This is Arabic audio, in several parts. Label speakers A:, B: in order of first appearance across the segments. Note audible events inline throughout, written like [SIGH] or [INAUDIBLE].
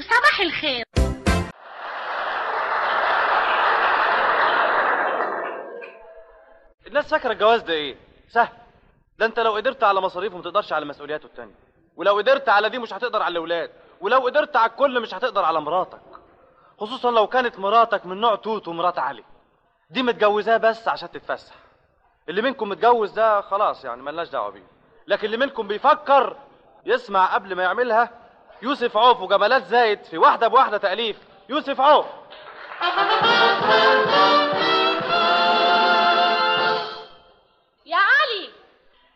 A: صباح الخير
B: الناس فاكره الجواز ده ايه سهل ده انت لو قدرت على مصاريفه ما تقدرش على مسؤولياته التانية ولو قدرت على دي مش هتقدر على الاولاد ولو قدرت على الكل مش هتقدر على مراتك خصوصا لو كانت مراتك من نوع توت ومرات علي دي متجوزاه بس عشان تتفسح اللي منكم متجوز ده خلاص يعني ملناش دعوه بيه لكن اللي منكم بيفكر يسمع قبل ما يعملها يوسف عوف وجمالات زايد في واحده بواحده تاليف يوسف عوف
A: يا علي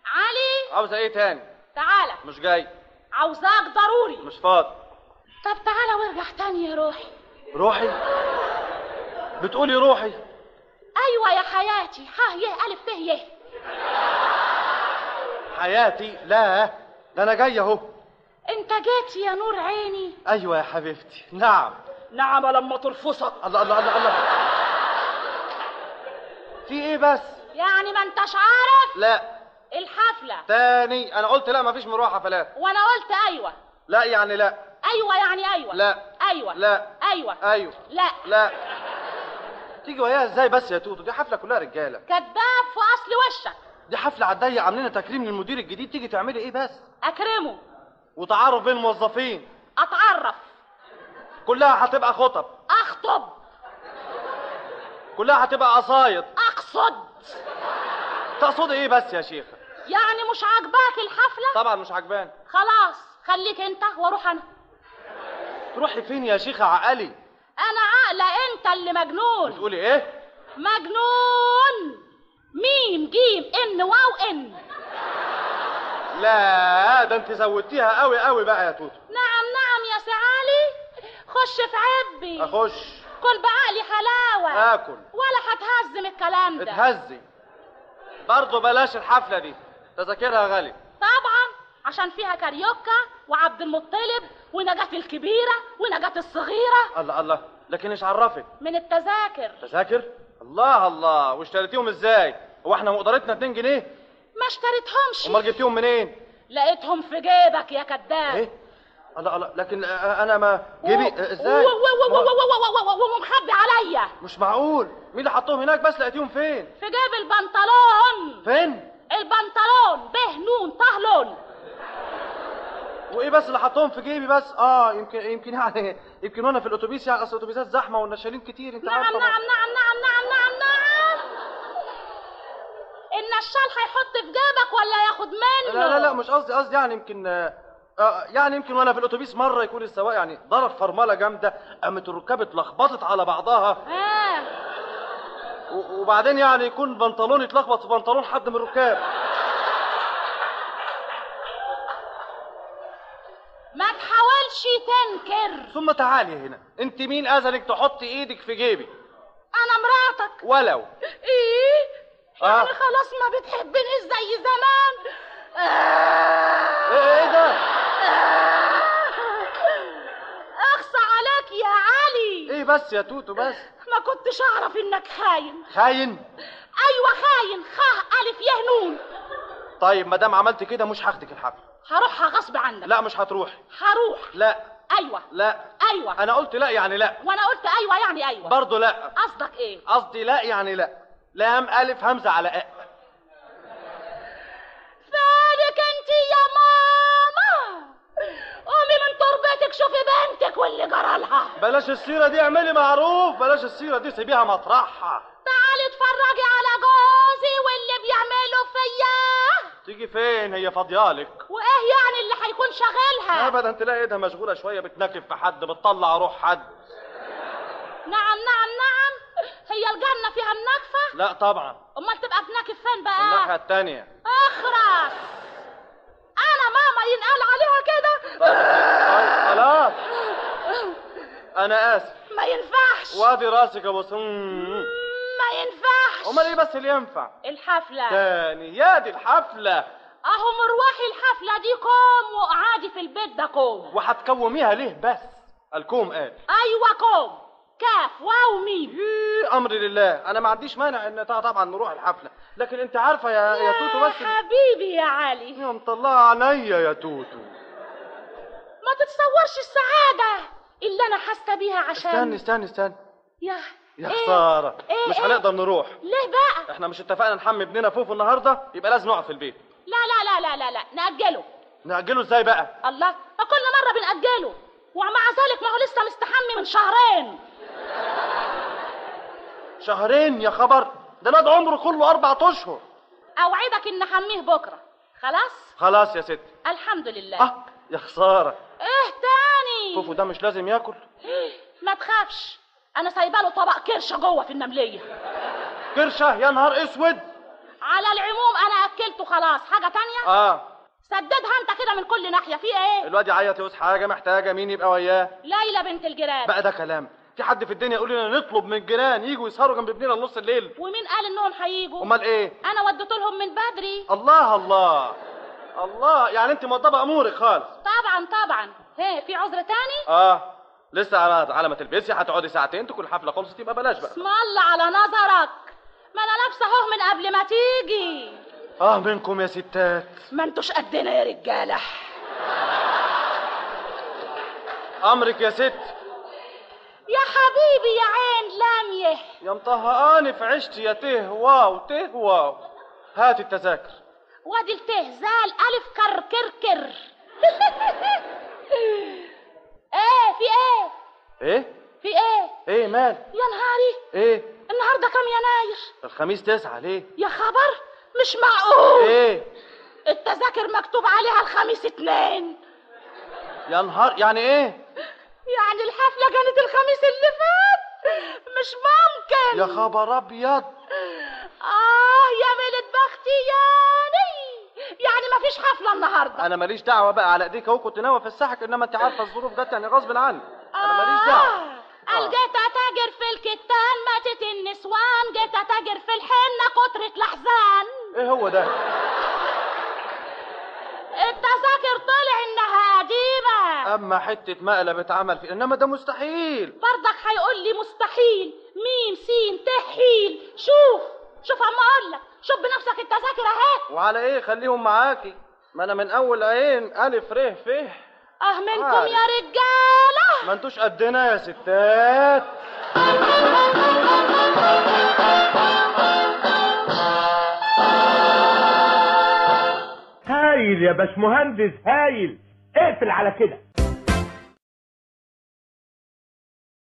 A: علي
B: عاوزه ايه تاني
A: تعالى
B: مش جاي
A: عاوزاك ضروري
B: مش فاضي
A: طب تعالى وارجع تاني يا روحي
B: روحي بتقولي روحي
A: ايوه يا حياتي ها يه الف ته يه
B: حياتي لا ده انا جاي اهو
A: انت جيت يا نور عيني
B: ايوه يا حبيبتي نعم
A: نعم لما ترفصك
B: الله الله الله الله في ايه بس
A: يعني ما انتش عارف
B: لا
A: الحفله
B: تاني انا قلت لا مفيش مروحه حفلات
A: وانا قلت ايوه
B: لا يعني لا
A: ايوه يعني ايوه
B: لا
A: ايوه
B: لا
A: ايوه
B: ايوه
A: لا
B: لا تيجي وياها ازاي بس يا توتو دي حفله كلها رجاله
A: كذاب في اصل وشك
B: دي حفله على الضيق عاملينها تكريم للمدير الجديد تيجي تعملي ايه بس
A: اكرمه
B: وتعارف بين الموظفين
A: اتعرف
B: كلها هتبقى خطب
A: اخطب
B: كلها هتبقى قصايد
A: اقصد
B: تقصدي ايه بس يا شيخه
A: يعني مش عاجباك الحفله
B: طبعا مش عجباني
A: خلاص خليك انت واروح انا
B: تروحي فين يا شيخه عقلي
A: انا عاقله انت اللي مجنون
B: بتقولي ايه
A: مجنون ميم جيم ان واو ان
B: لا ده انت زودتيها قوي قوي بقى يا توتو
A: نعم نعم يا سعالي خش في عبي
B: اخش
A: كل بعقلي حلاوه
B: اكل
A: ولا هتهزم الكلام إيه ده
B: اتهزي برضه بلاش الحفله دي تذاكرها غالي
A: طبعا عشان فيها كاريوكا وعبد المطلب ونجاة الكبيرة ونجاة الصغيرة
B: الله الله لكن ايش عرفك
A: من التذاكر
B: تذاكر الله الله واشتريتيهم ازاي هو احنا مقدرتنا 2 جنيه
A: ما اشتريتهمش
B: امال جبتيهم منين
A: لقيتهم في جيبك يا كذاب
B: ايه الله الله لكن اه، انا ما
A: و-
B: جيبي
A: و-
B: اه، ازاي
A: و- و- و-
B: ما-
A: و- و- و- ومخبي عليا
B: مش معقول مين اللي حطهم هناك بس لقيتيهم فين
A: في جيب البنطلون
B: فين
A: البنطلون به نون طه لون
B: وايه بس اللي حطهم في جيبي بس اه يمكن يمكن يعني [LAUGHS] يمكن وانا في الاتوبيس يعني اصل الاتوبيسات زحمه والنشالين كتير انت
A: نعم
B: عارفه
A: نعم نعم نعم نعم نعم نعم النشال هيحط في جيبك ولا ياخد منه
B: لا لا لا مش قصدي قصدي يعني يمكن آه يعني يمكن وانا في الاتوبيس مره يكون السواق يعني ضرب فرمله جامده قامت الركاب اتلخبطت على بعضها
A: آه.
B: و- وبعدين يعني يكون بنطلون يتلخبط في بنطلون حد من الركاب
A: ما تحاولش تنكر
B: ثم تعالي هنا انت مين اذنك تحطي ايدك في جيبي
A: انا مراتك
B: ولو
A: ايه
B: آه.
A: يعني خلاص ما بتحبنيش زي زمان آه.
B: ايه ايه ده
A: اخصى عليك يا علي
B: ايه بس يا توتو بس
A: ما كنتش اعرف انك خاين
B: خاين
A: ايوه خاين خاه الف يه نون
B: طيب ما دام عملت كده مش هاخدك الحفله
A: هروحها غصب عنك
B: لا مش هتروحي
A: هروح
B: لا
A: ايوه
B: لا
A: ايوه
B: انا قلت لا يعني لا
A: وانا قلت ايوه يعني ايوه
B: برضه لا
A: قصدك ايه
B: قصدي لا يعني لا لام الف همزه على أ
A: فالك انت يا ماما قومي من تربتك شوفي بنتك واللي جرالها
B: بلاش السيرة دي اعملي معروف بلاش السيرة دي سيبيها مطرحها
A: تعالي اتفرجي على جوزي واللي بيعمله فيا
B: تيجي فين هي فاضيالك
A: وايه يعني اللي هيكون شغالها
B: ابدا تلاقي ايدها مشغولة شوية بتنكف في حد بتطلع روح حد
A: نعم نعم نعم هي الجنة فيها النكفة
B: لا طبعا
A: امال تبقى بنكف فين
B: الناحية
A: بقى
B: التانية
A: اخرس انا ماما ينقال عليها كده
B: طيب خلاص انا اسف
A: ما ينفعش
B: وادي راسك يا بص امال
A: ما ينفعش
B: ايه بس اللي ينفع
A: الحفلة
B: تاني يا دي الحفلة
A: اهو مروحي الحفلة دي كوم وقعدي في البيت ده كوم
B: وهتكوميها ليه بس الكوم قال
A: ايوه كوم كاف واو ميم
B: إيه امر لله انا ما عنديش مانع ان طبعا نروح الحفله لكن انت عارفه يا يا توتو بس
A: حبيبي يا علي
B: يا مطلعة عينيا يا توتو
A: ما تتصورش السعادة اللي اللي انا حاسه بيها عشان
B: استني استني استني
A: يا
B: يا
A: إيه؟
B: خساره
A: إيه،
B: مش
A: إيه؟
B: هنقدر نروح
A: ليه بقى
B: احنا مش اتفقنا نحمي ابننا فوفو النهارده يبقى لازم يقعد في البيت
A: لا لا لا لا لا لا نأجله
B: نأجله ازاي بقى
A: الله كل مرة بنأجله ومع ذلك ما هو لسه مستحمي من شهرين
B: شهرين يا خبر ده الواد عمره كله أربعة أشهر
A: أوعدك إن حميه بكرة خلاص
B: خلاص يا ستي
A: الحمد لله
B: اه يا خسارة
A: إيه تاني
B: فوفو ده مش لازم ياكل
A: ما تخافش أنا سايبه له طبق كرشة جوه في النملية
B: كرشة يا نهار أسود
A: على العموم أنا أكلته خلاص حاجة تانية
B: اه
A: سددها أنت كده من كل ناحية في إيه
B: الواد يعيط يقول حاجة محتاجة مين يبقى وياه
A: ليلى بنت الجيران
B: بقى ده كلام في حد في الدنيا يقول لنا نطلب من الجيران يجوا يسهروا جنب ابننا لنص الليل
A: ومين قال إنهم هيجوا
B: امال ايه
A: أنا وديت لهم من بدري
B: الله الله الله يعني انت مضبه امورك خالص
A: طبعا طبعا هي في عذر تاني
B: اه لسه على على ما تلبسي هتقعدي ساعتين تكون الحفله خلصت يبقى بلاش بقى
A: اسم الله على نظرك ما انا لابسه اهو من قبل ما تيجي
B: اه منكم يا ستات
A: ما انتوش
B: إيه
A: قدنا يا رجاله
B: امرك يا ست
A: يا حبيبي يا عين لاميه
B: يا مطهقاني في عشتي يا ته واو ته واو هات التذاكر
A: وادي التهزال الف كر كر كر [LAUGHS] ايه في ايه
B: ايه
A: في ايه
B: ايه مال
A: يا نهاري
B: ايه
A: النهارده كام يناير
B: الخميس تسعة ليه
A: يا خبر مش معقول
B: ايه
A: التذاكر مكتوب عليها الخميس اتنين
B: يا نهار يعني ايه
A: يعني الحفله كانت الخميس اللي فات مش ممكن
B: يا خبر ابيض
A: آه يا ميلة بختي يا ني يعني ما فيش حفلة النهاردة
B: انا ماليش دعوه بقى على ايديك اهو كنت ناوي افسحك انما انت عارفه الظروف جت يعني غصب عني انا ماليش دعوه
A: آه. قال جيت أتاجر في الكتان ماتت النسوان جيت أتاجر في الحنة كترة الأحزان
B: ايه هو ده
A: التذاكر طلع إنها قديمة
B: اما حته مقلب اتعمل فيه انما ده مستحيل
A: برضك هيقول لي مستحيل ميم سين تحيل شوف شوف أما أقول لك شوف بنفسك التذاكر أهي
B: وعلى ايه خليهم معاكي ما انا من اول عين الف ره فيه
A: أه منكم
B: عارف.
A: يا رجالة
B: ما انتوش قدنا يا ستات
C: هايل يا باش مهندس هايل اقفل على كده